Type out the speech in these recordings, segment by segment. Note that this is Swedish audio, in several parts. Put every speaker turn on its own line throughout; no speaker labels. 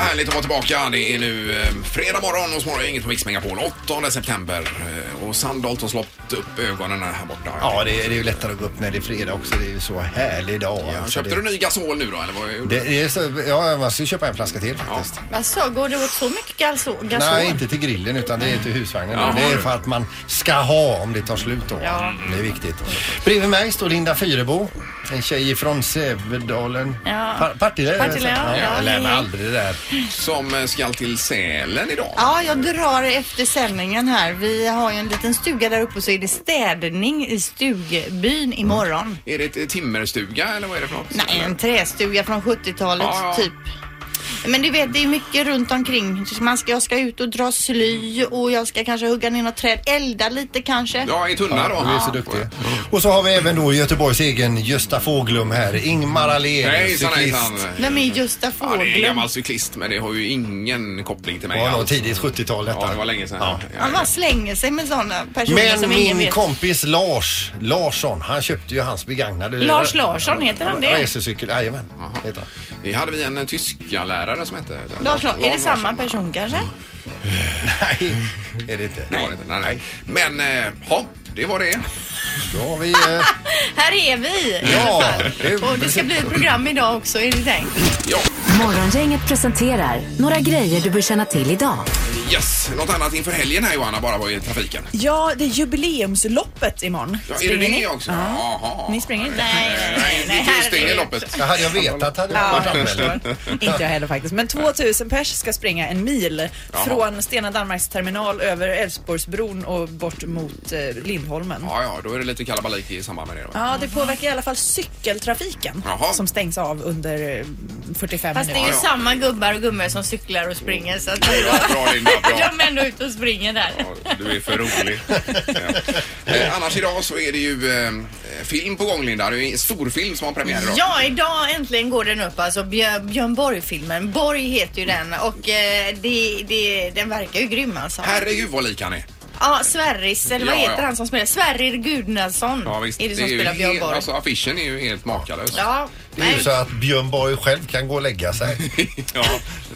härligt att vara tillbaka. Det är nu eh, fredag morgon och morgon, inget på Mix Megapol. 8 september. Eh, Och Sandholt har slått upp ögonen här borta.
Ja, det är, det är ju lättare att gå upp när det är fredag också. Det är ju så härlig dag. alltså.
Köpte
det,
du ny gasol nu då? Eller vad gjorde
det,
du?
är så, Ja, jag måste ju köpa en flaska till faktiskt.
Alltså, går det åt så mycket gasol? gasol?
Nej, inte till grillen utan det är till husvagnen.
Jaha,
då. det är
du.
för att man ska ha om det tar slut då.
Ja.
Det är viktigt. Bredvid mig står Linda Fyrebo, en tjej från Sävedalen.
Ja.
Pa- Partille?
Partille, ja. Ja,
Jag lär mig
hej.
aldrig det där.
Som eh, ska till Sälen idag.
Ja, jag drar efter sändningen här. Vi har ju en liten stuga där uppe och så är det städning i stugbyn imorgon.
Är det ett eh, timmerstuga eller vad är det för något?
Nej, en trästuga från 70-talet
Ja, ja.
typ. Men du vet, det är mycket runt omkring. Man ska, jag ska ut och dra sly och jag ska kanske hugga ner något träd, elda lite kanske.
Ja, i tunna då.
Ja, Du är så duktig. Och så har vi även då Göteborgs egen Gösta Fåglum här. Ingmar Ahlén,
Hejsan,
cyklist.
hejsan.
Vem är Gösta
Ja, det är en
Fågelblom?
gammal cyklist men det har ju ingen koppling till mig
Det var nog
alls.
tidigt 70-tal detta.
Ja, det var länge sedan. Ja.
Han bara slänger sig med sådana personer
Men
som
min
alltså, ingen vet.
kompis Lars Larsson, han köpte ju hans begagnade
Lars Larsson, heter han det?
Racercykel, jajamän. heter han.
Vi hade vi en, en tyska lärare som hette...
Lars Larsson, är det samma
Larsson.
person kanske?
Nej, är det inte.
Det var det inte. Nej, nej. Men, eh, ja, det var det.
Då har vi... Eh,
Här är vi! i
Ja,
alla fall.
det är-
Och det ska bli ett program idag också är det tänkt.
Ja,
Morgongänget presenterar några grejer du bör känna till idag.
yes. Något annat inför helgen här Johanna, bara var i trafiken.
Ja, det är jubileumsloppet imorgon.
Ja, är det
Springer
det
ni?
också? Jaha. Eh,
Ni springer inte?
Nej, nej, nej.
Nej,
nej,
inte just det i
herregud.
loppet.
det hade jag vetat hade jag varit anmäld.
Inte jag heller faktiskt. Men 2000 pers ska springa en mil
Jaha.
från Stena Danmarks terminal över Älvsborgsbron och bort mot eh, Lindholmen.
Ja, ja, då är det lite kalabalik i samband med det då.
Ja, det påverkar i alla fall cykeltrafiken
Jaha.
som stängs av under eh, 45
Fast det är
minuter.
ju samma gubbar och gummor som cyklar och springer så att
Bra Linda, bra.
de är ändå ute och springer där.
Ja, Du är för rolig. Ja. Eh, annars idag så är det ju eh, film på gång Linda. Det är en stor film som har premiär idag.
Ja, idag äntligen går den upp alltså. Björ, Björn Borg-filmen. Borg heter ju den och eh, det, det, den verkar ju grym alltså.
Herregud vad lik han är.
Ja, Sverris, eller vad
Ja,
heter
ja.
han som spelar? Sverrir Gudnason
Ja, visst.
är det som
ju
spelar Björn
helt-
Borg.
Alltså affischen är ju helt makalös.
Ja,
Det är
nej.
ju så att Björn Borg själv kan gå och lägga sig.
ja,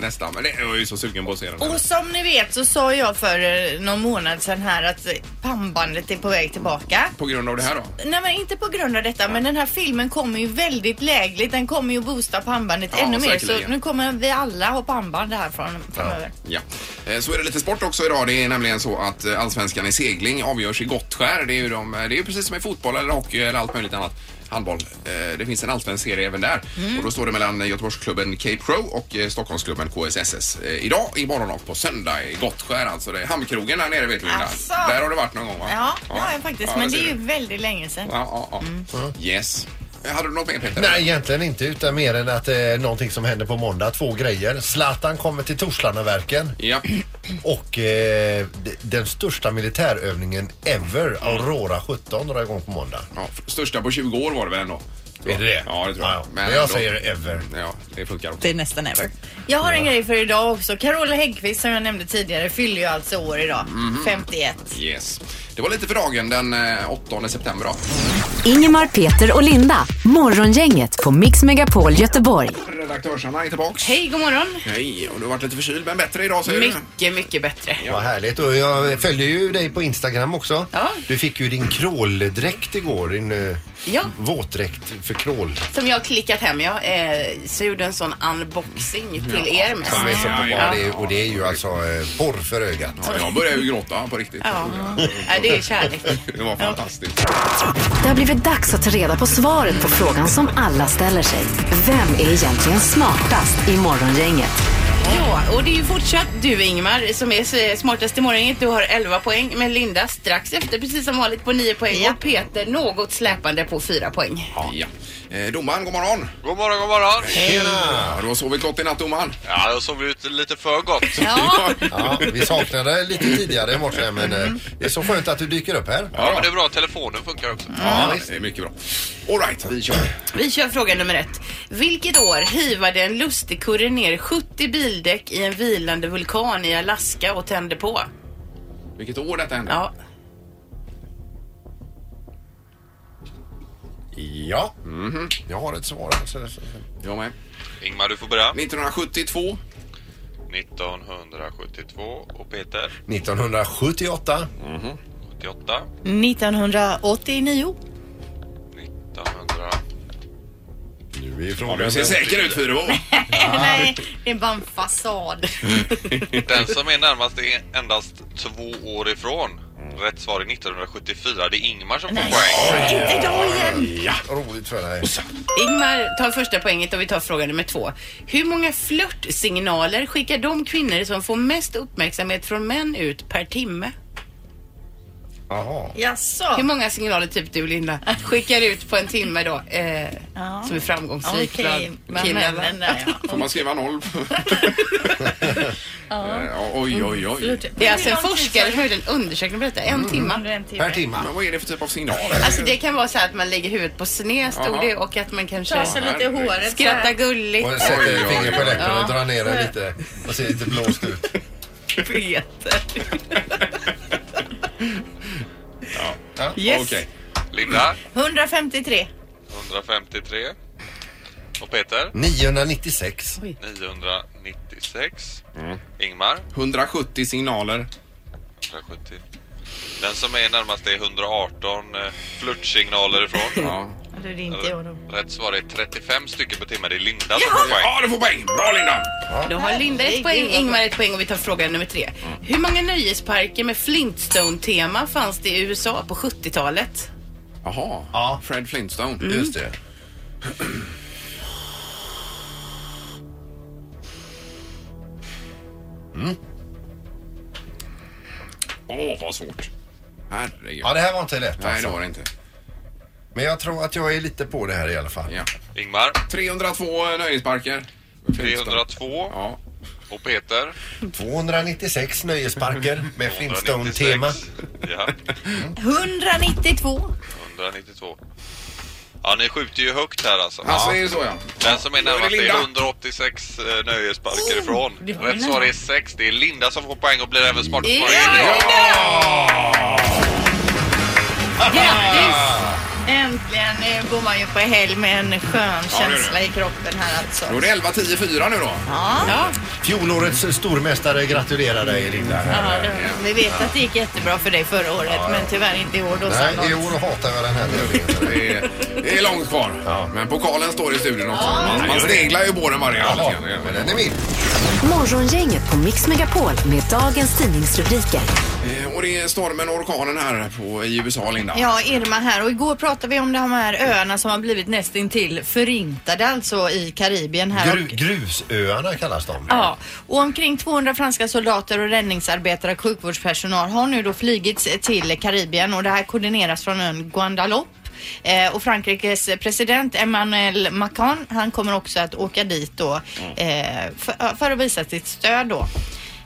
nästan. Men det jag är ju så sugen på att se den.
Och som ni vet så sa jag för eh, någon månad sedan här att eh, pannbandet är på väg tillbaka.
På grund av det här då?
Nej men inte på grund av detta men den här filmen kommer ju väldigt lägligt. Den kommer ju boosta pannbandet
Ja,
ännu mer
säkerligen.
så nu kommer vi alla ha pannband här från, framöver.
Ja. Eh, Så är det lite sport också idag. Det är nämligen så att eh, allsvenskan i segling avgörs i Gottskär. Det är ju, de, eh, det är ju precis som i fotboll eller hockey eller allt möjligt annat. Handboll. Eh, Det finns en allsvensk serie även där.
Mm.
Och då står det mellan eh, Göteborgsklubben Cape Pro och eh, Stockholmsklubben KSSS. Eh, Idag, imorgon och på söndag i Gottskär. Alltså det är hamnkrogen där nere vet du Linda.
Asså.
Där har du varit någon gång va?
Ja, det har jag faktiskt
Ja,
men
där
det
ser
är ju Mm.
du.
väldigt länge sedan.
Ja, ja, ja. Yes. Eh, Hade du något mer Peter?
Nej, egentligen inte utan mer än att eh, någonting som händer på måndag. Två grejer. Zlatan kommer till Torslanaverken
Ja.
och eh, d- den största militärövningen ever, Aurora 17, drar igång på måndag.
ja. f- Största på 20 år var det väl ändå?
Är det det?
Ja, det tror jag.
Ja, ja. Men jag
ändå.
säger ever.
Ja, det funkar också.
Det är nästan över.
Jag har en grej för idag också. Carola Häggkvist som jag nämnde tidigare fyller ju alltså år idag.
Mhm.
51.
Yes. Det var lite för dagen den eh, 8 september. Då.
Ingemar, Peter och Linda. Morgongänget på Mix Megapol Göteborg.
Redaktörsarna är tillbaks.
Hej, god morgon.
Hej, och du har varit lite förkyld men bättre idag säger du?
Mycket, mycket bättre.
Vad härligt. Och jag följer ju dig på Instagram också.
Ja.
Du fick ju din kråldräkt igår. Din eh,
Ja.
våtdräkt för krål.
Som jag har klickat hem. Jag eh, så gjorde en sån unboxing till er med.
Som är så
Ja,
bra.
ja,
Det, och det är ju alltså eh, porr för ögat.
Ja, jag börjar ju gråta på riktigt.
Ja. ja, det är kärlek.
Det var fantastiskt.
Det har blivit dags att ta reda på svaret på frågan som alla ställer sig. Vem är egentligen smartast i Morgongänget?
Ja, och det är ju fortsatt du Ingmar som är s- smartast i morgongänget. Du har 11 poäng, men Linda strax efter precis som vanligt på 9 poäng och Peter något släpande på 4 poäng.
Ja. Eh, domaren, god morgon.
God morgon, god morgon.
Ja, du har sovit gott i natt domaren.
Ja, jag sov ut lite för gott.
Ja,
Ja, vi saknade dig lite tidigare i morse men eh, det är så skönt att du dyker upp här.
Ja, men det är bra. Telefonen funkar också.
Ja, det är mycket bra. All right, vi kör.
vi kör fråga nummer ett. Vilket år hivade en lustigkurre ner 70 bildäck i en vilande vulkan i Alaska och tände på?
Vilket år detta hände?
Ja,
Ja,
Mhm.
jag har ett svar. Så- så- så-
Jag med.
Ingmar, du får börja.
1972.
1972 och Peter
1978.
88
1989.
1900
Nu är
Ja,
frågan...
du ser säker ut Fyrebo.
Nej, det är bara en fasad.
Den som är närmast är endast två år ifrån. Rätt svar är 1974. Det är Ingmar som får poäng.
Inte idag igen.
Ja.
Roligt för dig.
Ingmar tar första poänget och vi tar fråga nummer två. Hur många flörtsignaler skickar de kvinnor som får mest uppmärksamhet från män ut per timme?
Jaha.
Hur
Jaså?
många signaler, typ du Linda, skickar ut på en timme då? Eh,
Ja.
Som är framgångsrik
Okej,
bland killarna.
men där ja.
Får man skriva noll? ja. Oj, oj, oj.
Det är alltså en forskare som har gjort en undersökning på detta. En timme.
Per timme.
Men vad är det för typ av signal?
Alltså det kan vara så här att man lägger huvudet på sned, stod
Jaha.
det, och att man kanske
sig lite i håret.
skrattar gulligt.
Och
Oj,
sätter
oj, oj.
fingret på läppen och drar ner den lite och ser lite blåst ut.
Peter.
Yes. Okej.
Linda
153.
153. Och Peter
Mm. 996.
996. Ingmar
170 signaler.
170. Den som är närmast är 118 eh, flörtsignaler ifrån.
Ja.
Du, det är inte jag då.
Rätt svar är 35 stycken på timmen. Det är Linda som får poäng.
ja, du får poäng. Bra Linda!
Då har Linda ett
Herregud,
poäng,
vad
Ingmar ett poäng och vi tar fråga nummer tre. Hur många nöjesparker med Flintstone-tema fanns det i USA på 70-talet?
Jaha.
Ja. Mm.
Fred Flintstone.
Just det.
Mm. Åh, vad svårt. Herregud.
Ja, det här var inte lätt
Nej, det
alltså.
var det inte.
Men jag tror att jag är lite på det här i alla fall.
Ja.
Ingmar
302 nöjesparker. Flintstone.
302.
Ja.
Och Peter
296 nöjesparker med Flintstone-tema.
196. Ja,
192.
192. Ja, ni skjuter ju högt här alltså.
Alltså, är det så ja.
Den som är
Då är det
närmast är
Linda.
186 eh, nöjesparker ifrån. Rätt svar är 6. Det är Linda som får poäng och blir även smartast på
Ja,
ja.
Grattis! Äntligen eh, går man ju på helg med en skön
det är det.
känsla i kroppen här alltså.
Då är det 11, 10, 4 nu då.
Ja,
Fjolårets stormästare gratulerar dig, Linda.
Ja, det, vi vet att det gick jättebra för dig förra året men tyvärr inte i år då.
Nej,
sannolikt.
i år hatar jag den här tävlingen.
Det är, det är långt kvar.
Ja.
Men pokalen står i studion också. Man, man sneglar ju på den varje
Ja,
dag.
men den är min.
Morgongänget på Mix Megapol med dagens tidningsrubriker.
Eh, Och det är stormen och orkanen här på, i USA, Linda.
Ja, Irma här och igår pratade vi om de här öarna som har blivit nästintill förintade alltså i Karibien här.
Gru, grusöarna kallas de.
Ja, och omkring 200 franska soldater och räddningsarbetare och sjukvårdspersonal har nu då flygits till Karibien och det här koordineras från ön Guadeloupe. Eh, och Frankrikes president Emmanuel Macron, han kommer också att åka dit då eh, för, för att visa sitt stöd då.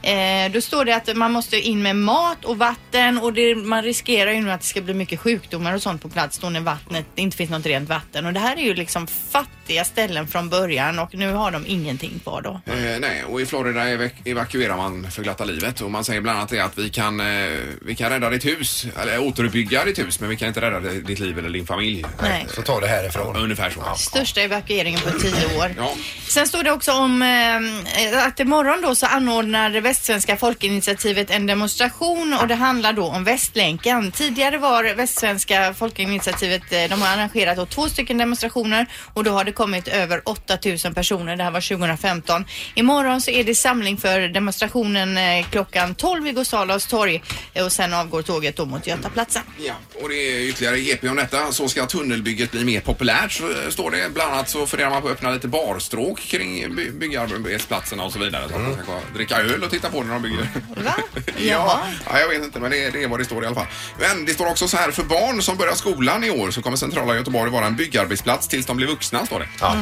Eh, då står det att man måste in med mat och vatten och det, man riskerar ju nu att det ska bli mycket sjukdomar och sånt på plats då när vattnet det inte finns något rent vatten. Och det här är ju liksom fattiga ställen från början och nu har de ingenting kvar då.
Eh, nej, och i Florida evaku- evakuerar man för glatta livet och man säger bland annat det att vi kan, eh, vi kan rädda ditt hus, eller återuppbygga ditt hus men vi kan inte rädda di- ditt liv eller din familj.
Nej.
Så ta det härifrån.
Ungefär så.
Största evakueringen på tio år.
Ja.
Sen står det också om eh, att imorgon då så anordnar Västsvenska folkinitiativet en demonstration och det handlar då om Västlänken. Tidigare var Västsvenska folkinitiativet, eh, de har arrangerat då två stycken demonstrationer och då har det kommit över 8000 personer. Det här var 2015. Imorgon så är det samling för demonstrationen eh, klockan 12 vid Gustav Adolfs torg eh, och sen avgår tåget då mot Götaplatsen.
Ja, och det är ytterligare GP om detta. Så ska tunnelbygget bli mer populärt, så eh, står det. Bland annat så funderar man på att öppna lite barstråk kring by- byggarbetsplatserna och så vidare. Så att man kan gå och dricka öl och titta på när de bygger.
Va?
ja, ja, jag vet inte, men det, det är vad det står i alla fall. Men det står också så här, för barn som börjar skolan i år så kommer centrala Göteborg vara en byggarbetsplats tills de blir vuxna, står det.
Ja.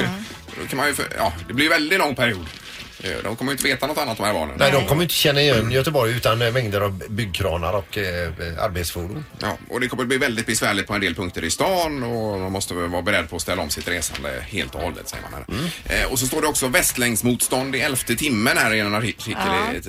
Då kan man ju, för, ja, det blir en väldigt lång period. Eh, De kommer ju inte veta något annat de här barnen.
Nej, de kommer inte känna igen Göteborg utan eh, mängder av byggkranar och eh, arbetsfordon.
Ja, och det kommer bli väldigt besvärligt på en del punkter i stan och man måste vara beredd på att ställa om sitt resande helt och hållet säger man här. Eh, och så står det också västlängdsmotstånd i elfte timmen här i en artikel.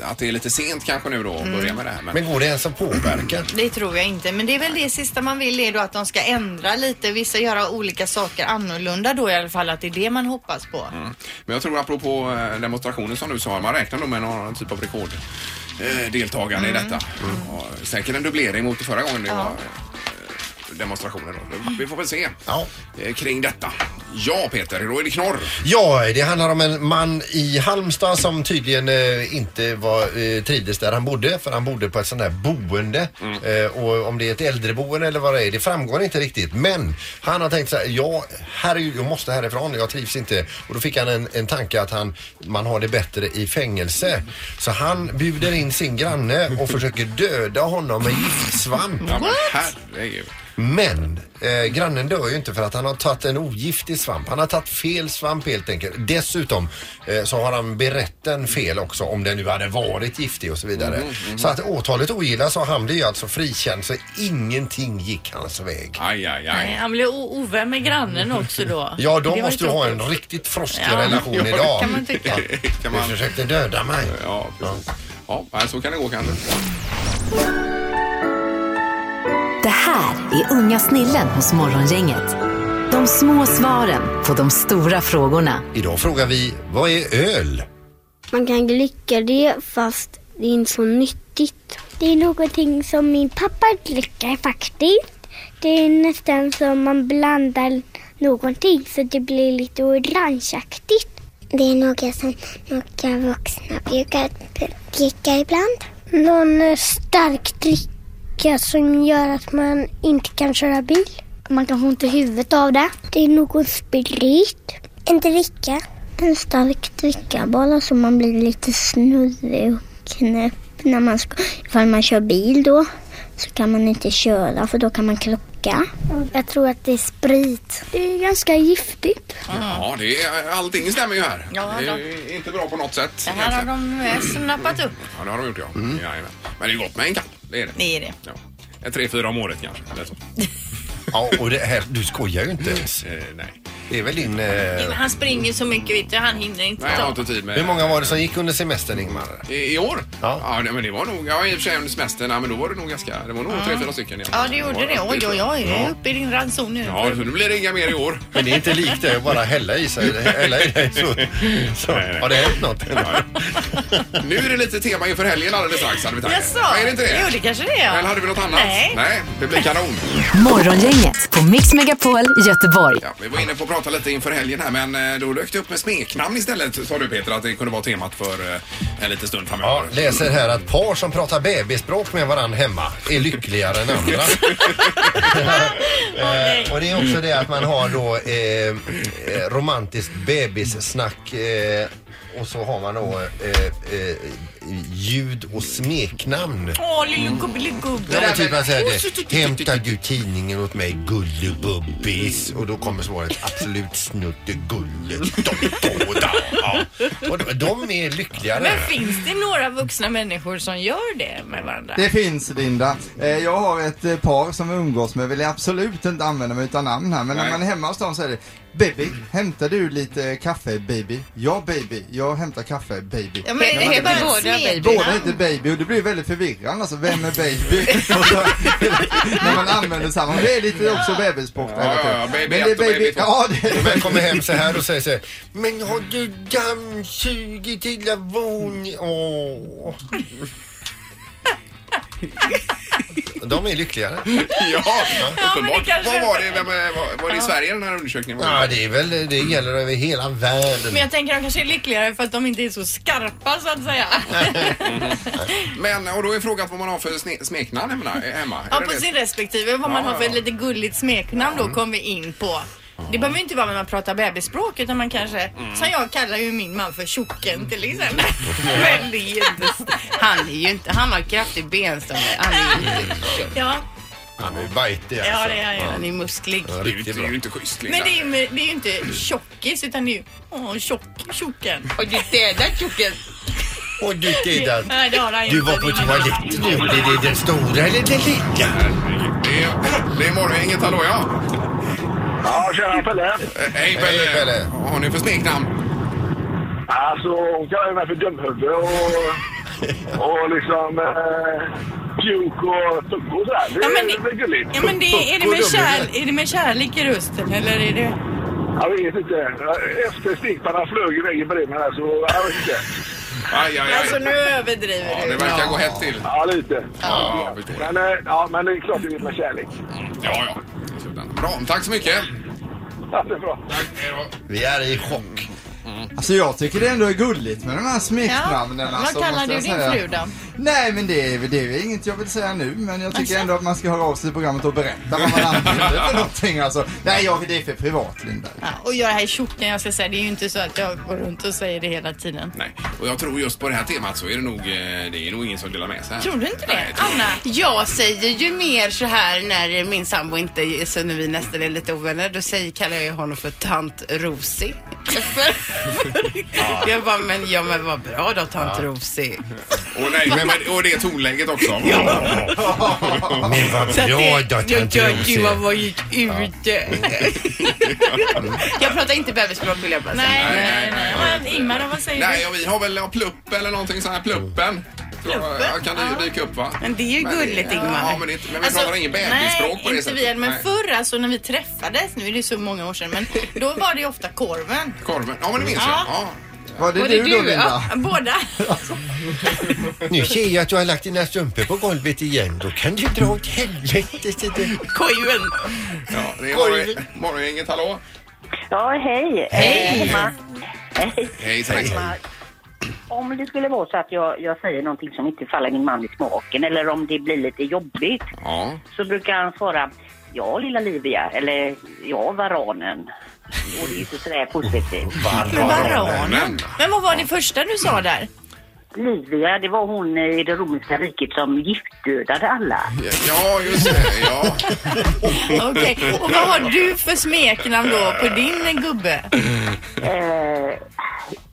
Att det är lite sent kanske nu då att börja med det här. Men,
Men går det ens att påverka?
Det tror jag inte, men det är väl det sista man vill är då att de ska ändra lite, vissa göra
Mm,
olika saker annorlunda då i alla fall, att det är det man hoppas på.
men jag tror apropå eh, prestationen som du sa. Man räknar nog med någon typ av rekord eh, deltagande i detta. Och säkert en dubblering mot förra gången det var eh, demonstrationer. Då. Vi får väl se
Ja.
eh, kring detta. Ja Peter, då är det knorr.
Ja, det handlar om en man i Halmstad som tydligen eh, inte var, eh, trivdes där han bodde för han bodde på ett sånt där boende. Eh, och om det är ett äldreboende eller vad det är, det framgår inte riktigt. Men han har tänkt så här, ja, här är, ju- jag måste härifrån, jag trivs inte. Och då fick han en, en tanke att han, man har det bättre i fängelse. Så han bjuder in sin granne och försöker döda honom med giftsvamp.
Ja, men herregud.
Men eh, grannen dör ju inte för att han har tagit en ogiftig svamp. Han har tagit fel svamp helt enkelt. Dessutom eh, så har han berett den fel också om den nu hade varit giftig och så vidare. Så att åtalet ogillas och han blir alltså frikänd så ingenting gick hans väg.
Aj, aj,
Nej,
aj.
han blev o- ovän med grannen också då.
Ja, då
Det var
måste du
ju
ha en
tråkigt.
riktigt frostig
Ja.
relation
Ja, det
idag.
kan man tycka.
Kan
Du
man...
försökte döda mig.
Ja, precis. Ja, så kan det gå kanske.
Det här är Unga snillen hos Morgongänget. De små svaren på de stora frågorna.
Idag frågar vi, vad är öl?
Man kan dricka det fast det är inte så nyttigt. Det är någonting som min pappa dricker faktiskt. Det är nästan som man blandar någonting så det blir lite orangeaktigt. Det är något som några vuxna brukar dricka ibland. Någon stark dricka som gör att man inte kan köra bil. Man kan få ont i huvudet av det. Det är någon sprit. En dricka. En stark dricka bara så man blir lite snurrig och knäpp när man ska, ifall man kör bil då. Så kan man inte köra för då kan man krocka. Jag tror att det är sprit. Det är ganska giftigt.
Ja, det är, allting stämmer ju här.
Ja,
det är ju inte bra på något sätt.
Det här har
egentligen.
de eh, snappat upp.
Ja, det har de gjort ja.
Mm.
Jajamän. Men det är gott med en kall. Det är det.
Det är det.
Ja. En tre, fyra om året kanske. Eller så.
Ja, och det här, du skojar ju inte ens.
Eh, nej.
Det är väl din... Eh...
Han springer så mycket vet du, han hinner inte
nej, jag har
ta.
inte tid med...
Hur många var det som gick under semestern Ingmar?
I, I år?
Ja.
nej, men det var nog... Ja, i och för sig under semestern. Nej, men då var det nog ganska... Det var nog tre, fyra stycken. igen.
Ja, det gjorde det. Oj, oj, oj. Jag är uppe i din ranson nu.
Ja, så nu blir det inga mer i år.
Men det är inte likt det att bara hälla i sig. Hälla i dig så, så
Nej, nej.
har det hänt något.
Nu är det lite tema inför helgen alldeles strax, hade vi tanken.
Jaså?
Nej, Är det inte det?
Jo, det kanske det är.
Eller hade vi något annat?
Nej.
Nej, det blir kanon.
Morgongänget på Mix Megapol Göteborg.
Ja, vi var inne på att prata lite inför helgen här men eh, då dök det upp med smeknamn istället sa du Peter att det kunde vara temat för eh, en liten stund
Ja,
framöver.
läser här att par som pratar bebisspråk med varandra hemma är lyckligare än andra. Eh, och det är också det att man har då eh, eh, romantiskt bebissnack eh, och så har man då eh, eh, ljud och smeknamn.
Åh, lillgubbe, lillgubbe.
Ja, men typ man säger det. Hämtar du tidningen åt mig gullebubbis? Och då kommer svaret absolut snuttegulle. De båda. Ja. Och de- de är lyckligare.
Men finns det några vuxna människor som gör det med varandra?
Det finns Linda. Eh, Jag har ett eh, par som jag umgås med, vill jag absolut inte använda mig utan namn här, men
Nej.
när man är hemma hos dem så är det Baby, hämtar du lite kaffe baby? Ja baby, jag hämtar kaffe baby.
Ja, men det är
bara
bara
båda,
ett
Båda
smeknamn.
heter baby och det blir väldigt förvirrande alltså, vem är baby? Och så- när man använder samma, det är lite också bebisspråk där,
Ja,
vet du.
ja, ja, baby
Men det är
ett och baby
baby,
två.
ja det är
Man kommer hem så här och säger så här. Men har du dammsugit hela våningen? Åh. De är lyckligare.
ja, uppenbart.
kanske-
Vad var det? Vem, eh, var, var det i Sverige den här undersökningen?
Ja, det är väl, det gäller över hela världen.
Men jag tänker de kanske är lyckligare för att de inte är så skarpa så att säga.
Men, och då är frågan vad man har för sne- smeknamn hemma. eh, hemma.
Ja,
Är
på
det
sin respektive. Vad man
Ja,
har för
ja.
ett lite gulligt smeknamn då kom vi in på. Det behöver ju inte vara när man pratar bebisspråk utan man kanske, som jag kallar ju min man för tjocken till exempel. Mm.
Men det är ju inte... Han är ju inte... Han har kraftig benstående. Han är ju inte...
Ja,
Han är bajtig
ja
alltså.
det är jag.
Han är musklig.
Ja,
det, är ju inte-
Riktigt
det
bra.
är ju inte schysst Linda.
Men det är, ju- det är ju inte tjockis utan det är ju, åh tjock, tjocken.
Har du städat tjocken?
Och du Ida,
Nej, det har han
du
inte.
var på toaletten nu. Blir det den stora eller den lilla?
Det är, det är Morgongänget, hallå ja.
Ja, tjena Pelle.
Eh, Hej Pelle.
Hej, Pelle.
Vad har ni för smeknamn?
Alltså, hon kallar mig för dumhuvud och, och liksom eh, pjuk och tucko och sådär. Det
Ja, men
är
det-
väl gulligt.
Ja men det, är, det med kär, är det med kärlek i rösten eller är det...
Jag vet inte. Efter stigparna flög iväg i bredden här så jag vet inte.
Aj, aj, aj.
Alltså nu överdriver
Ja,
du.
det verkar gå hett till.
Ja, lite.
Ja, jag förstår.
Men, eh, ja, men det är klart det är med kärlek.
Ja, ja. Bra, tack så mycket.
Ja, det är bra.
Vi är i chock.
Mm,
Alltså jag tycker det ändå är gulligt med de här smeknamnen.
Ja, vad
alltså,
kallar
måste
du
jag
din
säga.
fru då?
Nej men det är, det är ju inget jag vill säga nu men jag tycker
Alltså?
ändå att man ska höra av sig i programmet och berätta vad man använder för någonting alltså. Nej jag, det är för privat Linda.
Ja, och jag här i tjocken, jag ska säga, det är ju inte så att jag går runt och säger det hela tiden.
Nej, och jag tror just på det här temat så är det nog, eh, det är nog ingen som delar med sig här.
Tror du inte det?
Nej, jag tror-
Anna?
Jag säger ju mer så här när min sambo inte är så när vi nästan är lite ovänner. Då säger, kallar jag ju honom för tant Rosie. För, jag bara, men, ja, men vad bra då tant Rosie.
Och, nej, men, men, och det tonläget också.
Men vad
Så att
bra då,
jag
tant Rosie.
tyckte man var gick ute. jag pratar inte bebisspråk vill jag bara säga.
Nej,
nej,
nej,
nej.
nej. Men Ingmar, vad säger
Nej,
du?
ja, vi har väl ja, plupp eller någonting sånt här, pluppen. Tror jag, jag kan det ju dyka upp va?
Men det är ju
Men det-
gulligt
Ja,
Ingmar.
men, det, är inte- men vi pratar ingen bebisspråk
Alltså, nej,
på det
inte vi än, men
Nej.
förr alltså när vi träffades, nu är det så många år sedan, men då var det ju ofta korven.
Korven, ja men det minns
Ja.
jag. Ja.
Var det,
Och
du, då Linda?
Ja, båda.
Nu ser jag att du har lagt dina strumpor på golvet igen. Då kan du dra åt helvete. till det.
Kojen.
Ja, det är
Korven.
morgon- morgongänget, hallå?
Ja, hej. Hej. Emma. Eh, Hej.
Hejsan, hejsan.
Emma. Om det skulle vara så att jag, jag säger någonting som inte faller min man i smaken eller om det blir lite jobbigt
Ja.
så brukar han svara Ja, lilla Livia, eller ja, varanen. Och det är ju inte sådär positivt.
Varanen. Men vad var det första du sa där?
Livia, det var hon i det romerska riket som giftdödade alla. Mm.
Ja, just det. Ja.
Okej, och vad har du för smeknamn då på din gubbe?
Eh,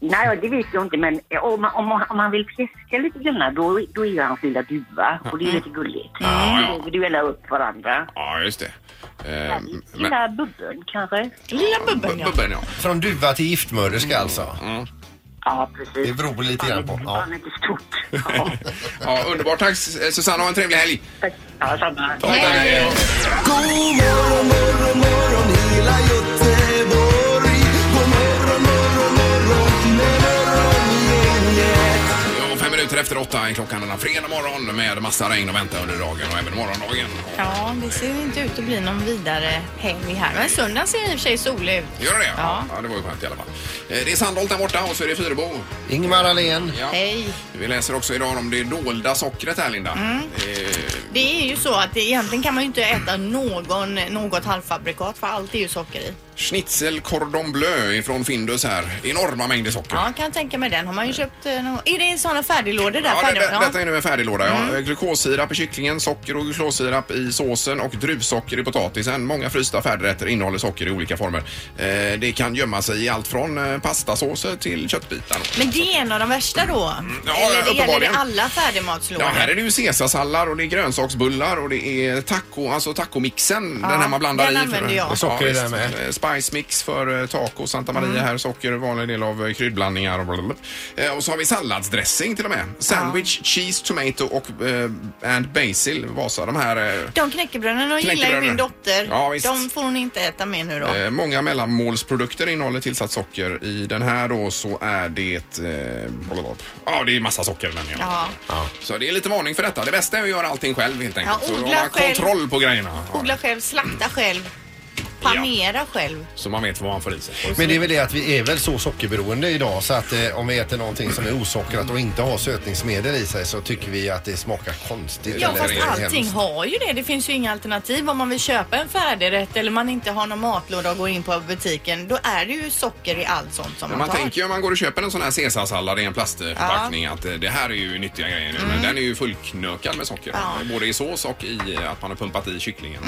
nej, det vet jag inte, men om, man- om, man- om man vill fjäska lite grann då, då är jag hans lilla duva och det är ju lite gulligt.
Ja, ja.
Då lägger du hela upp varandra.
ja, just det. Ehm, men-
Lilla bubben kanske?
Lilla bubben ja.
Bubben, ja.
Från duva till giftmörderska alltså.
Ja,
Det
precis.
beror lite grann på. Ja.
Fan, det är stort. Ja,
ja. Underbart. Tack Susanne, ha en trevlig helg.
tack. Ja, samma.
Hej. Ja, Fem minuter efter åtta är klockan denna fredag morgon med massa regn och vänta under dagen och även morgondagen.
Ja, det ser ju inte ut att bli någon vidare helg här. Men söndagen ser i och för sig solig ut.
Gör det?
Ja.
ja, det var ju skönt i alla fall. Eh, Det är Sandholt där borta och så är det Fyrebo.
Ingmar Ahlén.
Ja.
Hej.
Vi läser också idag om det dolda sockret här, Linda. Eh,
Det är ju så att det, egentligen kan man ju inte äta någon, något halvfabrikat för allt är ju socker i.
Schnitzel cordon bleu från Findus här. Enorma mängder socker.
Ja, kan jag tänka mig. Den har man ju köpt eh, någon... Är det sådana färdiglådor där?
Ja, det,
Färdig-
det, detta är nu en färdiglåda. Ja. Glukossirap i kycklingen, socker och glukossirap i såsen och druvsocker i potatisen. Många frysta färdigrätter innehåller socker i olika former. Eh, det kan gömma sig i allt från eh, pastasåser till köttbitar.
Men det är en av de värsta då?
Mm, ja,
Eller det gäller det
uppenbarligen.
alla
Ja,
färdigmatslådor?
här är det ju caesarsallad och det är grönsaksbullar och det är taco, alltså tacomixen. den här man blandar
den
i.
använder jag. Och
socker i den
visst.
med.
Eh, Spice mix för eh, taco, Santa Maria
Mm.
här, socker, vanlig del av eh, kryddblandningar och blablabla. Eh, Och så har vi salladsdressing till och med. Sandwich, cheese, tomato och eh, and basil, Vasa. De här eh,
De knäckebröden, de gillar ju
Knäckebröden.
min dotter.
Ja, visst.
de får hon inte äta mer nu då.
Eh, många mellanmålsprodukter innehåller tillsatt socker. I den här då så är det... Eh, blablabla. ja, det är massa socker i den. Ja.
Ja.
Så det är lite varning för detta. Det bästa är att göra allting själv helt enkelt. så då
odla
har man
själv.
kontroll på grejerna. Ja.
Odla själv, slakta själv, panera själv.
Så man vet vad man får i sig.
Men det är väl det att vi är väl så sockerberoende idag så att eh, om vi äter någonting som är osockrat och inte har sötningsmedel i sig så tycker vi att det smakar konstigt.
Ja,
Ja,
eller
fast
är
allting
hemskt.
har ju det. Det finns ju inga alternativ. Om man vill köpa en färdigrätt eller man inte har någon matlåda och går in på butiken, då är det ju socker i allt sånt som
Men
man,
man
tar.
tänker ju om man går och köper en sån här caesarsallad i en plastförpackning att eh, det här är ju nyttiga grejer nu. Men den är ju fullknökad med socker.
Mm. Ja. Mm.
Både i sås och i eh, att man har pumpat i kycklingen.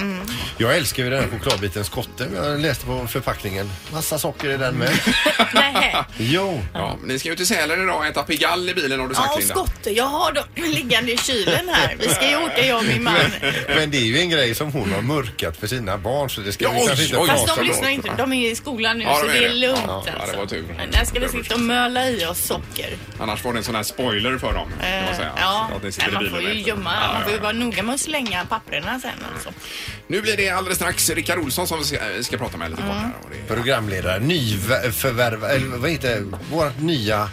Jag älskar ju den här chokladbiten skotte. Jag läste på förpackningen. Massa socker i den med.
Nej.
Jo.
Ja, men ni ska ju till Sälen idag och äta pigall i bilen har du sagt
Ja, och
Linda.
skotte. Jag har dem liggande i kylen här. Vi ska ju åka, jag och min man.
Men det är ju en grej som hon har mörkat för sina barn så det ska
Ja,
vi
oj,
kanske inte
oj,
prata
oj.
Fast de
bra.
om.
lyssnar inte. De är i skolan nu,
Ja,
så
de är
det är
det.
lugnt
Ja, ja, det
alltså.
var tur.
Men där ska vi sitta och möla i oss socker.
Annars var det en sån här spoiler för dem. Kan man
Eh,
säga.
ja.
Att ni sitter
Nej,
i
man får
bilen
ju
efter.
gömma.
Ja,
Man får ju
ja,
vara noga med att slänga papperna sen alltså.
ja. Nu blir det alldeles strax Rickard Olsson som ska, eh, ska prata med lite kort
Mm.
här. Och det-
Programledare, nyförvärv, eller vad heter det? Vårt nya...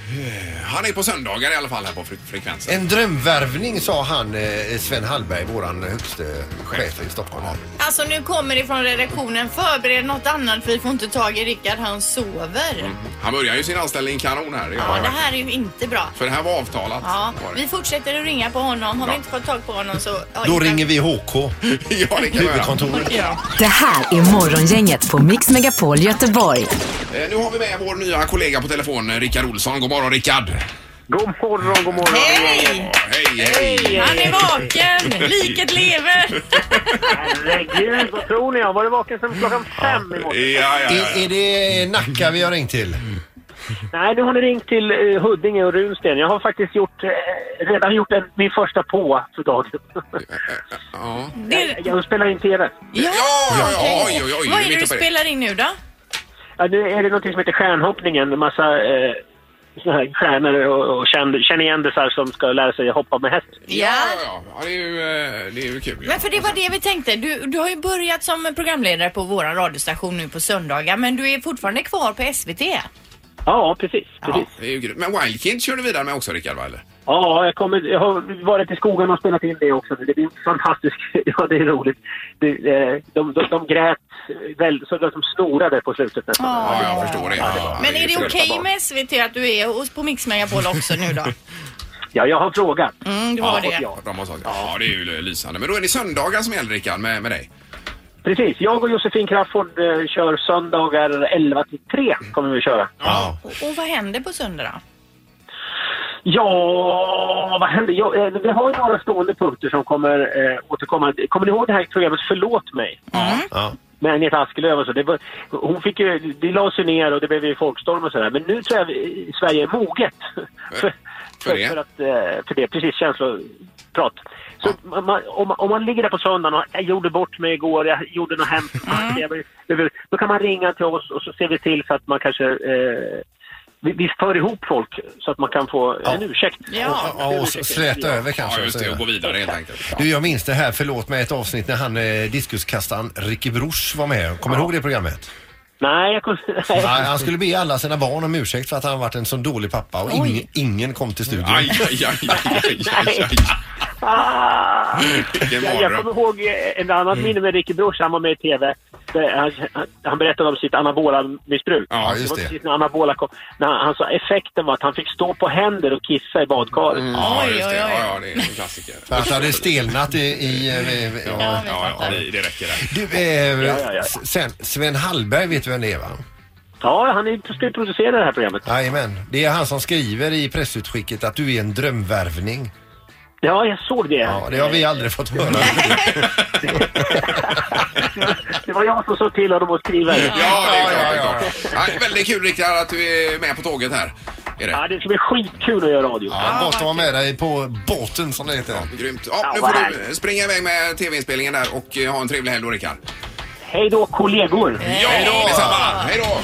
Han är på söndagar i alla fall här på fre- frekvensen.
En drömvärvning sa han, eh, Sven Hallberg, våran högste chef i Stockholm. här.
Alltså nu kommer det från redaktionen. Förbered något annat. Vi får inte tag i Rickard. Han sover.
Han börjar ju sin anställning kanon här. Det gör
Ja,
han
det
verkligen.
här är ju inte bra.
För det här var avtalat.
Ja,
Var det.
vi fortsätter att ringa på honom. Har vi
Ja.
inte fått tag på honom så... Ja,
Då
Rickard-
ringer vi HK.
ja, det kan vi göra.
Huvudkontoret.
Det här är Morgongänget på Mix Megapol Göteborg.
Eh, Nu har vi med vår nya kollega på telefon, eh, Rickard Olsson. God morgon Rickard!
God morgon, god morgon!
Hej!
Hej, hej!
Han är vaken! Liket lever!
Herregud, vad tror ni? Jag har varit vaken sedan klockan fem i morse.
Är, är det Nacka vi har ringt till?
Nej, nu har ni ringt till eh, Huddinge och Runsten. Jag har faktiskt gjort, eh, redan gjort en, min första på för dagen.
ja.
jag, jag spelar in TV.
Ja,
ja, ja,
okej.
oj, oj, oj,
Vad
vi
är
är mitt
det du
uppe i det.
spelar in nu då?
Ja, nu är det något som heter stjärnhoppningen. En massa eh, såna här stjärnor och, och känd, kändisar som ska lära sig att hoppa med häst.
Ja.
Ja, ja, det är ju, eh, det är ju kul.
Men för det var det vi tänkte. Du, du har ju börjat som programledare på vår radiostation nu på söndagar men du är fortfarande kvar på SVT.
Ja, precis. precis.
Det är ju grymt. Men Wildkind kör du vidare med också Rickard, va? eller?
Ja, jag, kommer, jag har varit i skogen och spelat in det också. nu. Det blir fantastiskt. Ja, det är roligt. Det, eh, de, de, de grät väl, så de snorade på slutet nästan.
Ja,
jag förstår det.
Men är det okej med SVT att du är hos- på Mix Megapol också nu då?
Ja, jag har frågat.
Mm, du har
ja,
det.
Ja, de har sagt, ja, det är ju lysande. Men då är det söndagar som gäller Rickard med, med dig.
Precis. Jag och Josefin Crafoord eh, kör söndagar 11 till 3 kommer vi köra.
Ja.
Och, och vad händer på söndag då?
Ja, vad händer? Ja, eh, vi har ju några stående punkter som kommer eh, återkomma. Kommer ni ihåg det här programmet Förlåt mig? Med Agneta Askelöf och så. Det, var, hon fick ju, det lades ju ner och det blev ju folkstorm och sådär. Men nu tror jag vi, Sverige är moget.
Eh,
för,
för det?
För, att, eh, för det, precis. Känsloprat. Så man- man, om, man- om man ligger där på söndagen och jag gjorde bort mig igår, jag gjorde något hemskt. Jag blev- Då kan man ringa till oss och så ser vi till så att man kanske eh, vi, vi för ihop folk så att man kan få en ursäkt.
Och, och, och släta över kanske.
Ja, just det. Och gå vidare helt enkelt.
Du, jag minns det här, förlåt mig, ett avsnitt när han eh, diskuskastaren Ricky Bruch var med. Kommer du ihåg det programmet?
Nej, jag kunde...
Nej, han skulle be alla sina barn om ursäkt för att han varit en så dålig pappa och ing, ingen kom till studion.
Aj, aj, aj, aj, aj, aj, aj.
Ah!
Vilken
Jag, jag
mardröm.
kommer ihåg eh, en
Mm.
annan minne med Ricky Bruch, han var med i TV. Där Han, han- han berättade om sitt anabola-missbruk.
Ja, just
var
det.
precis när anabola kom. När han, han sa effekten var att han fick stå på händer och kissa i badkaret.
Mm.
Ja, just det. Ja, ja, det är en klassiker.
För att han hade stelnat i... i, eh, i, i
Ja, ja, ja, det, det räcker där.
Du, eh,
Ja, ja, ja.
Sen, Sven Hallberg vet du vem det är va?
Ja, han är- ska ju producera det här programmet.
Jajamän. Det är han som skriver i pressutskicket att du är en drömvärvning.
Ja, jag såg det.
Ja, det har vi aldrig fått höra.
Det var jag som såg till honom att skriva det.
Ja, det är klart. det är klart. Ja, väldigt kul Rickard att du är med på tåget här. Är det?
Ja, det ska bli skitkul att göra radio.
Ja, gott att vara med dig på båten som det heter.
Grymt. Ja, nu får du springa iväg med tv-inspelningen där och eh, ha en trevlig helg då Rickard.
Hej då, kollegor!
Ja, detsamma. Hej då!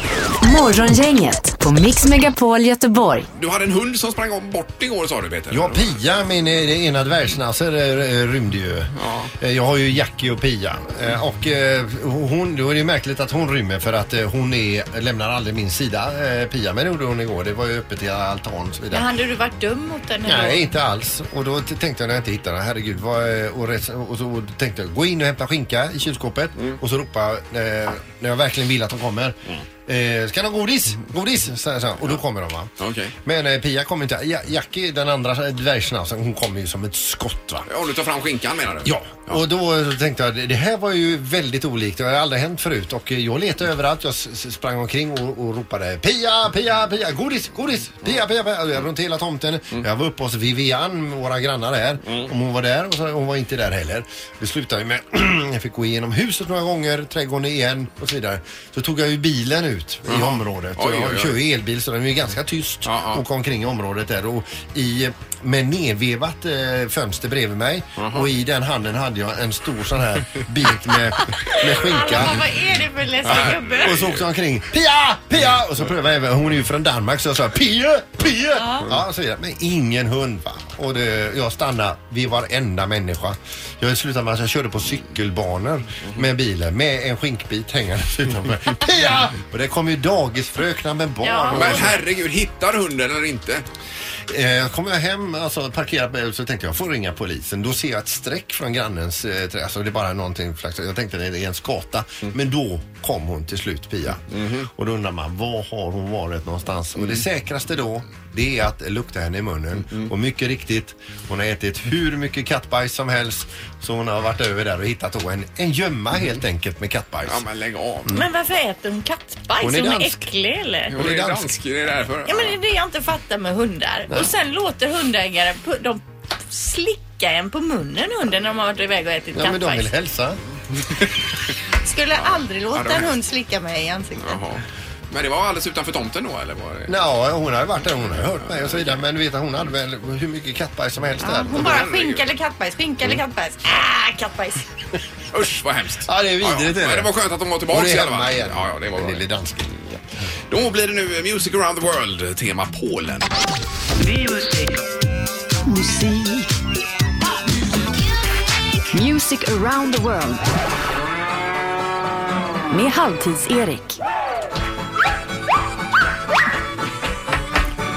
Morgongänget på Mix Megapol Göteborg.
Du hade en hund som sprang om bort igår sa du Peter.
Ja, Pia, min eh, det ena dvärgsnasser, eh, rymde ju. Eh, Jag har ju Jackie och Pia. Eh, Och eh, hon, då är det ju märkligt att hon rymmer för att eh, hon är, lämnar aldrig min sida, eh, Pia. Men det gjorde hon igår. Det var ju öppet i altan och så
Men
vidare.
hade du varit dum mot henne då?
Nej, inte alls. Och då t- tänkte jag när jag inte hittade den, herregud. Vad, eh, och, res- och så tänkte jag gå in och hämta skinka i kylskåpet
Mm.
och så ropa eh, när jag verkligen vill att de kommer. Eh, ska de ha godis? Godis! Så, så, och då kommer de va.
Mm. Okej.
Men eh, Pia kommer inte. Ja, Jackie, den andra dvärgsnasen, hon kommer ju som ett skott va.
Ja, du tar fram skinkan menar du?
Ja, och då eh, tänkte jag det här var ju väldigt olikt. Det har aldrig hänt förut och eh, jag letade överallt. Jag s- s- sprang omkring och, och ropade Pia, Pia, Pia, godis, godis, Pia, Pia, Pia. Jag runt hela tomten.
Mm.
Jag var uppe hos Vivian, våra grannar här, om hon var där. Och så, hon var inte där heller. Det slutade ju med jag fick gå igenom huset några gånger, trädgården igen och så vidare. Så tog jag ju bilen ut i
Jaha.
området.
Mm. Oj,
Och
oj, oj.
jag kör ju elbil så den är ju ganska tyst
ja.
och omkring i området där. Och i, med nedvevat eh, fönster bredvid mig och i den handen hade jag en stor sån här bit med, med skinka.
Alma, vad är det för läskig gubbe?
Och så åkte jag omkring. Pia! Pia! Och så prövade jag även, hon är ju från Danmark så jag sa Pia! Pia! Ja, så vidare. Men ingen hund va. Och det, jag stannade vid varenda människa. Jag slutade med att jag körde på cykelbanor med bilen med en skinkbit hängandes utanför. Pia! Och det kom ju dagisfröknar med barn.
Ja.
och-
Men herregud, hittar hunden eller inte?
Eh, kom jag hem, alltså parkerat med, så tänkte jag, jag får ringa polisen. Då ser jag ett streck från grannens eh, träd. Alltså det är bara någonting, flax- jag tänkte det är en skata. Men då kom hon till slut, Pia. Och då undrar man, var har hon varit någonstans? Och det säkraste då, det är att lukta henne i munnen. Och mycket riktigt, hon har ätit hur mycket kattbajs som helst. Så hon har varit över där och hittat då en, en gömma helt enkelt med kattbajs.
Ja, men lägg av.
Mm.
Men varför äter hon kattbajs?
Hon
Hon
är
är,
dansk.
äcklig eller?
Hon är dansk, det är därför.
Ja men det är det jag inte fattar med hundar.
Nej.
Och sen låter hundägare pu- de slicka en på munnen hunden när de har varit iväg och ätit
Ja, men de vill
kattbajs.
hälsa.
Skulle aldrig
Ja,
låta
det
en
är-
hund slicka mig i ansiktet.
Jaha. Men det var alldeles utanför tomten då eller? Var det?
Ja, hon hade varit där, hon hade hört mig och så vidare. Men du vet, hon hade väl hur mycket kattbajs som helst där.
Hon bara skinka Ah, eller kattbajs, skinka eller kattbajs. Ah, kattbajs.
Usch vad hemskt.
Ja, det är vidrigt,
Ja,
är
ja.
det.
Men det var skönt att de var tillbaka
Och det är
i alla fall.
hemma igen.
Ja, ja, det var bra.
Lille dansken.
Då blir det nu eh, Music around the world, tema Polen.
Musik. Music around the world. Med Halvtids-Erik.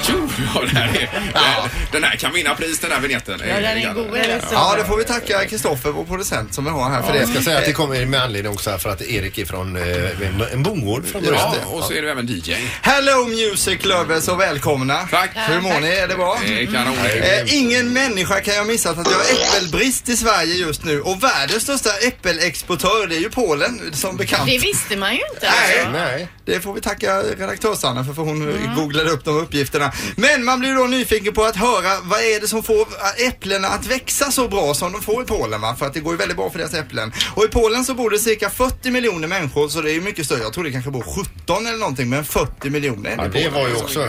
Tjo! Ja, det här är, Den här kan vinna pris den här vignetten.
Ja, den är god, eller så.
Ja, det får vi tacka Kristoffer, vår producent, som vi har här för
Ja,
det.
jag ska säga att det kommer med anledning också här för att Erik är från eh, en- en bondgård från början.
Ja, och så är du även DJ.
Hello Music Lovers och välkomna. Tack. Hur mår ni? Är det bra?
Det är kanon.
Mm.
Eh, ingen människa kan jag missa att vi har äppelbrist i Sverige just nu och världens största äppelexportör det är ju Polen som bekant.
Det visste man ju inte.
Nej.
alltså.
Nej.
Det får vi tacka redaktörs-Anna för, för hon googlade upp de uppgifterna. Men man blir ju då nyfiken på att höra vad är det som får äpplena att växa så bra som de får i Polen va? För att det går ju väldigt bra för deras äpplen. Och i Polen så bor det cirka 40 miljoner människor så det är ju mycket större. Jag tror det kanske bor 17 eller någonting men 40 miljoner är
Ja,
i
det
Polen,
var ju
alltså.
också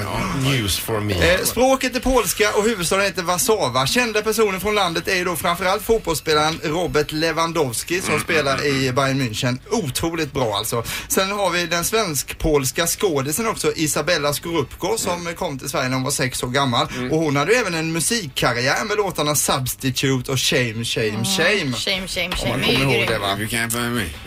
news for me.
Eh, språket är polska och huvudstaden heter Warszawa. Kända personer från landet är ju då framförallt fotbollsspelaren Robert Lewandowski som spelar i Bayern München. Otroligt bra alltså. Sen har vi den svensk-polska skådisen också, Isabella Skorupko som kom till Sverige när hon var sex år gammal. Och hon hade ju även en musikkarriär med låtarna Substitute och Shame, Shame, Shame.
Shame, shame,
Om man
shame.
kommer
Det är
ihåg
grymt.
det va?
Du kan för mig.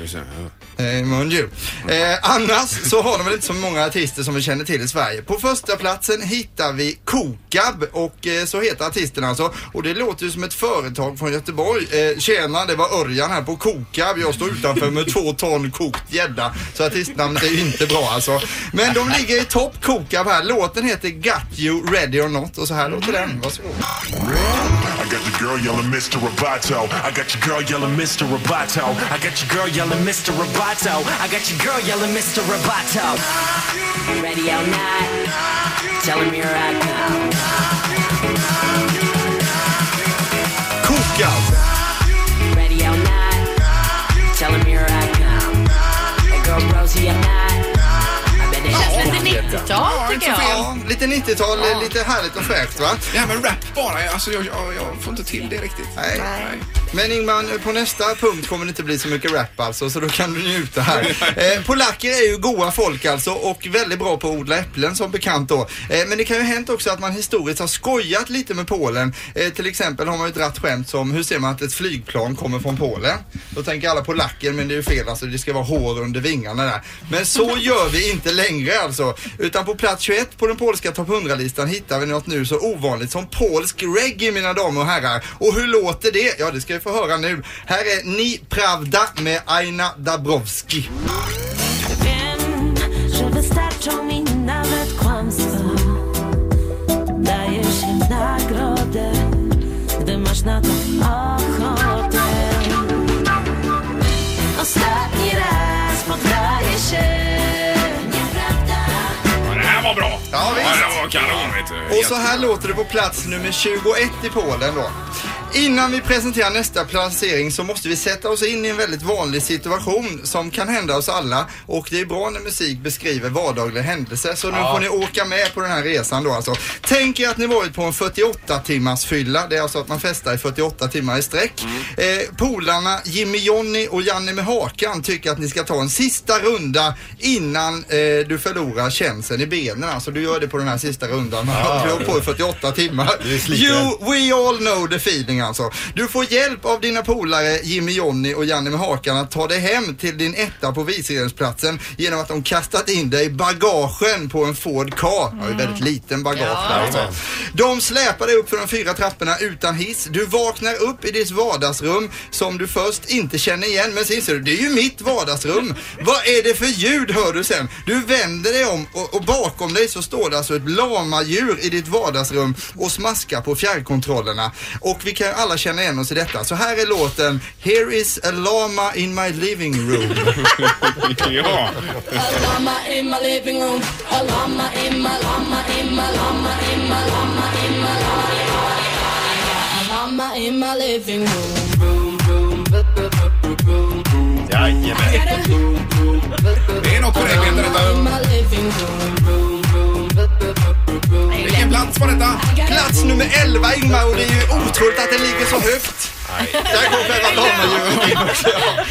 Eh, Mon Dieu. Eh, annars så har de väl inte så många artister som vi känner till i Sverige. På första platsen hittar vi Kokab och eh, så heter artisten alltså. Och det låter ju som ett företag från Göteborg. Eh, tjena, det var Örjan här på Kokab. Jag står utanför med två ton kokt gädda. Så artistnamnet är ju inte bra alltså. Men de ligger i topp Kokab här. Låten heter Got You Ready or Not och så här låter den. Varsågod.
I got your girl yelling Mr. Roboto. I got your girl yelling Mr. Roboto. I got your girl yelling Mr. Roboto. I got your girl yelling Mr. Roboto. You ready or not? Tell him you're right now.
Kokab!
You ready or not? Tell him you're right now. Hey girl, Rosie or not? I bet it
Känns
doesn't
lite
matter.
90-tal tycker jag.
Ja, lite 90-tal, eh, lite härligt och fräscht va?
Ja, men rap bara. Alltså, jag, jag, jag får inte till det riktigt.
Nej. Men Ingman, på nästa punkt kommer det inte bli så mycket rap alltså, så då kan du njuta här. Eh, polacker är ju goa folk alltså och väldigt bra på att odla äpplen som bekant då. Eh, men det kan ju ha hänt också att man historiskt har skojat lite med Polen. Eh, till exempel har man ju dratt skämt som, hur ser man att ett flygplan kommer från Polen? Då tänker alla polacker, men det är ju fel alltså, det ska vara hår under vingarna där. Men så gör vi inte längre alltså. Utan på plats 21 på den polska topp 100-listan hittar vi något nu så ovanligt som polsk reggae mina damer och herrar. Och hur låter det? Ja, det ska vi få höra nu. Här är Ni Pravda med Aina Dabrowski.
Wiem, że wystarczą mi nawet kłamstwa. Daje się w nagrodę, gdy masz na to ochotę. Ostatni raz poddaję się. Nieprawda.
Ja, det här var bra.
Ja, visst.
det var kanon, vet du.
Och så här låter det på plats nummer 21 i Polen då. Innan vi presenterar nästa placering så måste vi sätta oss in i en väldigt vanlig situation som kan hända oss alla och det är bra när musik beskriver vardagliga händelser så nu
Ja.
får ni åka med på den här resan då alltså. Tänk er att ni varit på en 48 timmars fylla, det är alltså att man festar i 48 timmar i sträck. Eh, polarna Jimmy Jonny och Janne med hakan tycker att ni ska ta en sista runda innan eh, du förlorar känseln i benen. Alltså du gör det på den här sista rundan. Man
Ja.
har hållit på i 48 timmar.
Det är sliten.
You We all know the feeling alltså. Du får hjälp av dina polare Jimmy Jonny och Janne med hakan att ta dig hem till din etta på viceregeringsplatsen genom att de kastat in dig i bagagen på en Ford Ka. Ja, det är
Mm.
väldigt liten bagage
Ja.
där alltså.
Jajamän.
De släpar dig upp för de fyra trapporna utan hiss. Du vaknar upp i ditt vardagsrum som du först inte känner igen. Men sen inser du, det är ju mitt vardagsrum. Vad är det för ljud hör du sen? Du vänder dig om och, och bakom dig så står det alltså ett lamadjur i ditt vardagsrum och smaskar på fjärrkontrollerna. Och vi kan ju alla känna igen oss i detta. Så här är låten Here is a lama in my living room.
ja.
llama in my living room. A llama in my llama in my llama in my llama in my llama. A llama in my living room.
Jajamän. Det är något på räkningen
Mm.
detta.
Vilken plats var detta? Plats nummer 11 Ingmar och det är ju otroligt att den ligger så högt. Där kom själva lamadjuret in också.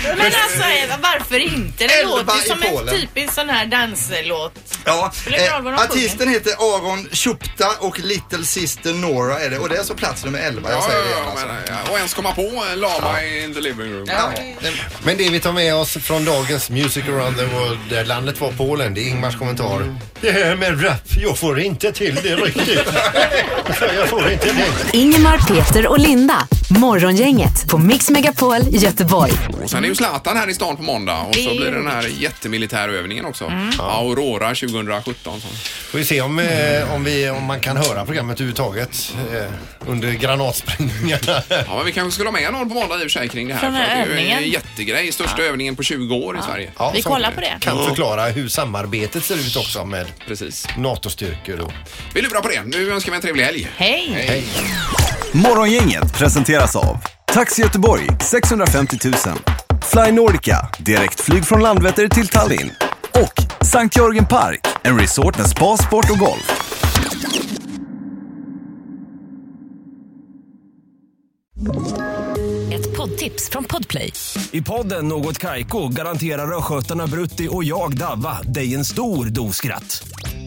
Men alltså eh, varför inte? Det
Elva
låter ju
i
som en
Polen.
typisk sån här danslåt.
Ja, eh,
Spelar ingen roll vad de sjunger.
artisten heter Aron Chupta och Little Sister Nora är det och det är alltså plats nummer 11. Jag
Ja,
säger det
ja,
igen alltså.
men, ja, och ens komma på en lama in the living room.
Ja. Men det vi tar med oss från dagens Music around the world där landet var Polen, det är Ingmars kommentar. Det här med rap, jag får inte till det riktigt. jag får inte det.
Ingemar, Peter och Linda. Morgongänget på Mix Megapol Göteborg.
Och sen är ju Zlatan här i stan på måndag och så
Det är
blir det den här jättemilitärövningen också. Aurora 2017.
Får vi se om, eh, om, vi, om man kan höra programmet överhuvudtaget eh, under granatsprängningarna.
Ja, men vi kanske skulle ha med någon på måndag i och för sig kring det här.
Från
för att Det är ju en
övningen.
jättegrej. Största övningen på 20 år i Sverige.
Ja, som Kan
Ja.
förklara hur samarbetet ser ut också med
Precis.
NATO-styrkor. och-
Vi lurar på det. Nu önskar vi en trevlig helg.
Hej!
Hej.
Morgongänget presenteras av Taxi Göteborg 650 000 Fly Nordica, direktflyg från Landvetter till Tallinn och Sankt Jörgen Park, en resort med spa, sport och golf.
Ett poddtips från Podplay.
I podden Något Kaiko garanterar östgötarna Brutti och jag, Davva, dig en stor dos skratt.